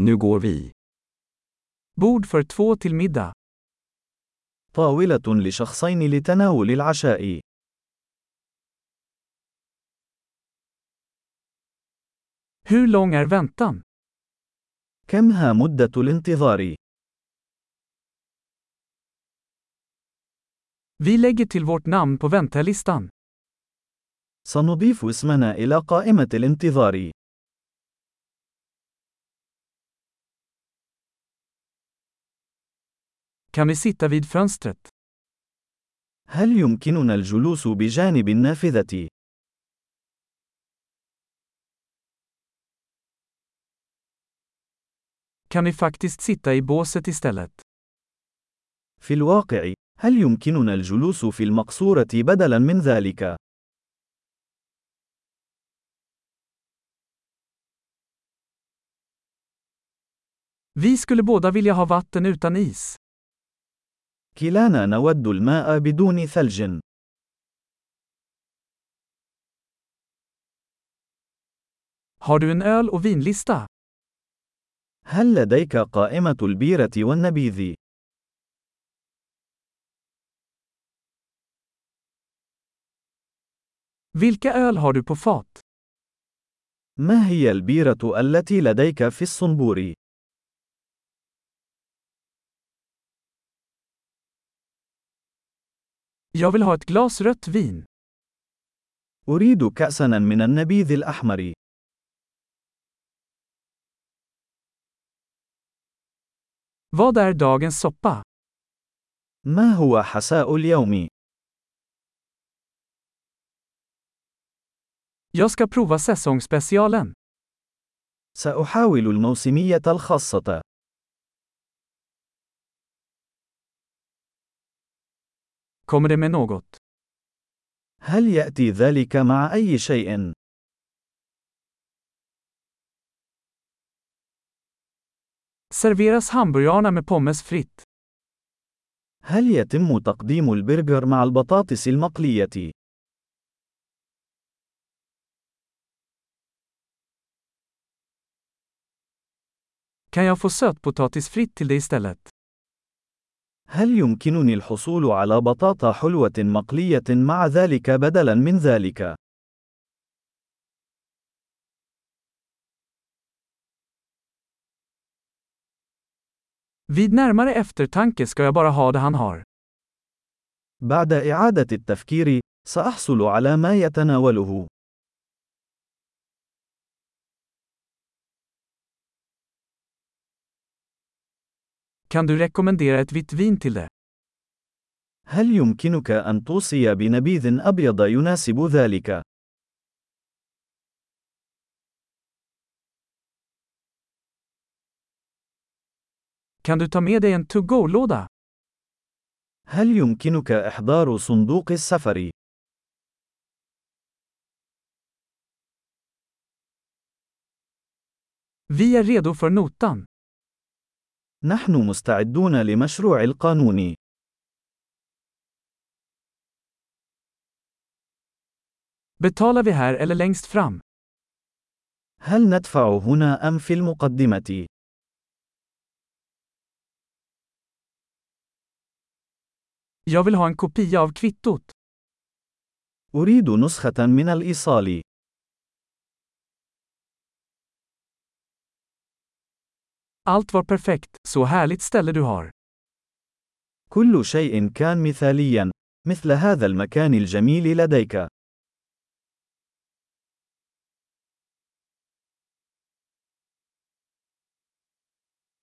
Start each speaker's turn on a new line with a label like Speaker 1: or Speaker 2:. Speaker 1: Nu går vi.
Speaker 2: Bord för två till middag.
Speaker 3: طاولة لشخصين لتناول العشاء.
Speaker 2: Hur lång är väntan?
Speaker 3: كمها مدة الانتظار؟
Speaker 2: Vi lägger till vårt namn på väntelistan.
Speaker 3: سنضيف اسمنا إلى قائمة الانتظار.
Speaker 2: Kan vi sitta vid fönstret?
Speaker 3: هل يمكننا الجلوس بجانب النافذة؟
Speaker 2: Kan vi faktiskt sitta i båset istället?
Speaker 3: في الواقع، هل يمكننا الجلوس في المقصورة بدلاً من ذلك؟
Speaker 2: Vi skulle båda vilja ha vatten utan is.
Speaker 3: كلانا نود الماء بدون ثلج.
Speaker 2: Har du en öl och vinlista?
Speaker 3: هل لديك قائمة البيرة والنبيذ؟
Speaker 2: Vilka öl har du på fat?
Speaker 3: ما هي البيرة التي لديك في الصنبور؟
Speaker 2: Jag vill ha ett glas rött vin.
Speaker 3: أريد كأساً من النبيذ الأحمر.
Speaker 2: Vad är dagens soppa?
Speaker 3: ما هو حساء اليوم؟
Speaker 2: Jag ska prova säsongsspecialen.
Speaker 3: سأحاول الموسمية الخاصة.
Speaker 2: Kommer det med något?
Speaker 3: هل يأتي ذلك مع أي شيء؟
Speaker 2: Serveras hamburgarna med pommes fritt?
Speaker 3: هل يتم تقديم البرجر مع البطاطس المقلية؟
Speaker 2: Kan jag få sötpotatis fritt till det istället?
Speaker 3: هل يمكنني الحصول على بطاطا حلوة مقلية مع ذلك بدلاً من ذلك؟
Speaker 2: Vid närmare eftertanke ska jag bara ha det han har.
Speaker 3: بعد إعادة التفكير، سأحصل على ما يتناوله.
Speaker 2: Kan du rekommendera ett vitt vin till det?
Speaker 3: هل يمكنك أن توصي بنبيذ أبيض يناسب ذلك؟
Speaker 2: Kan du ta med dig en to-go-låda?
Speaker 3: هل يمكنك إحضار صندوق السفر؟
Speaker 2: Vi är redo för notan.
Speaker 3: نحن مستعدون لمشروع القانون.
Speaker 2: Betalar vi här eller längst fram?
Speaker 3: هل ندفع هنا أم في المقدمة؟
Speaker 2: Jag vill ha en kopia av kvittot.
Speaker 3: أريد نسخة من الإيصال.
Speaker 2: Allt var perfekt, så härligt ställe du har.
Speaker 3: كل شيء كان مثاليا مثل هذا المكان الجميل لديك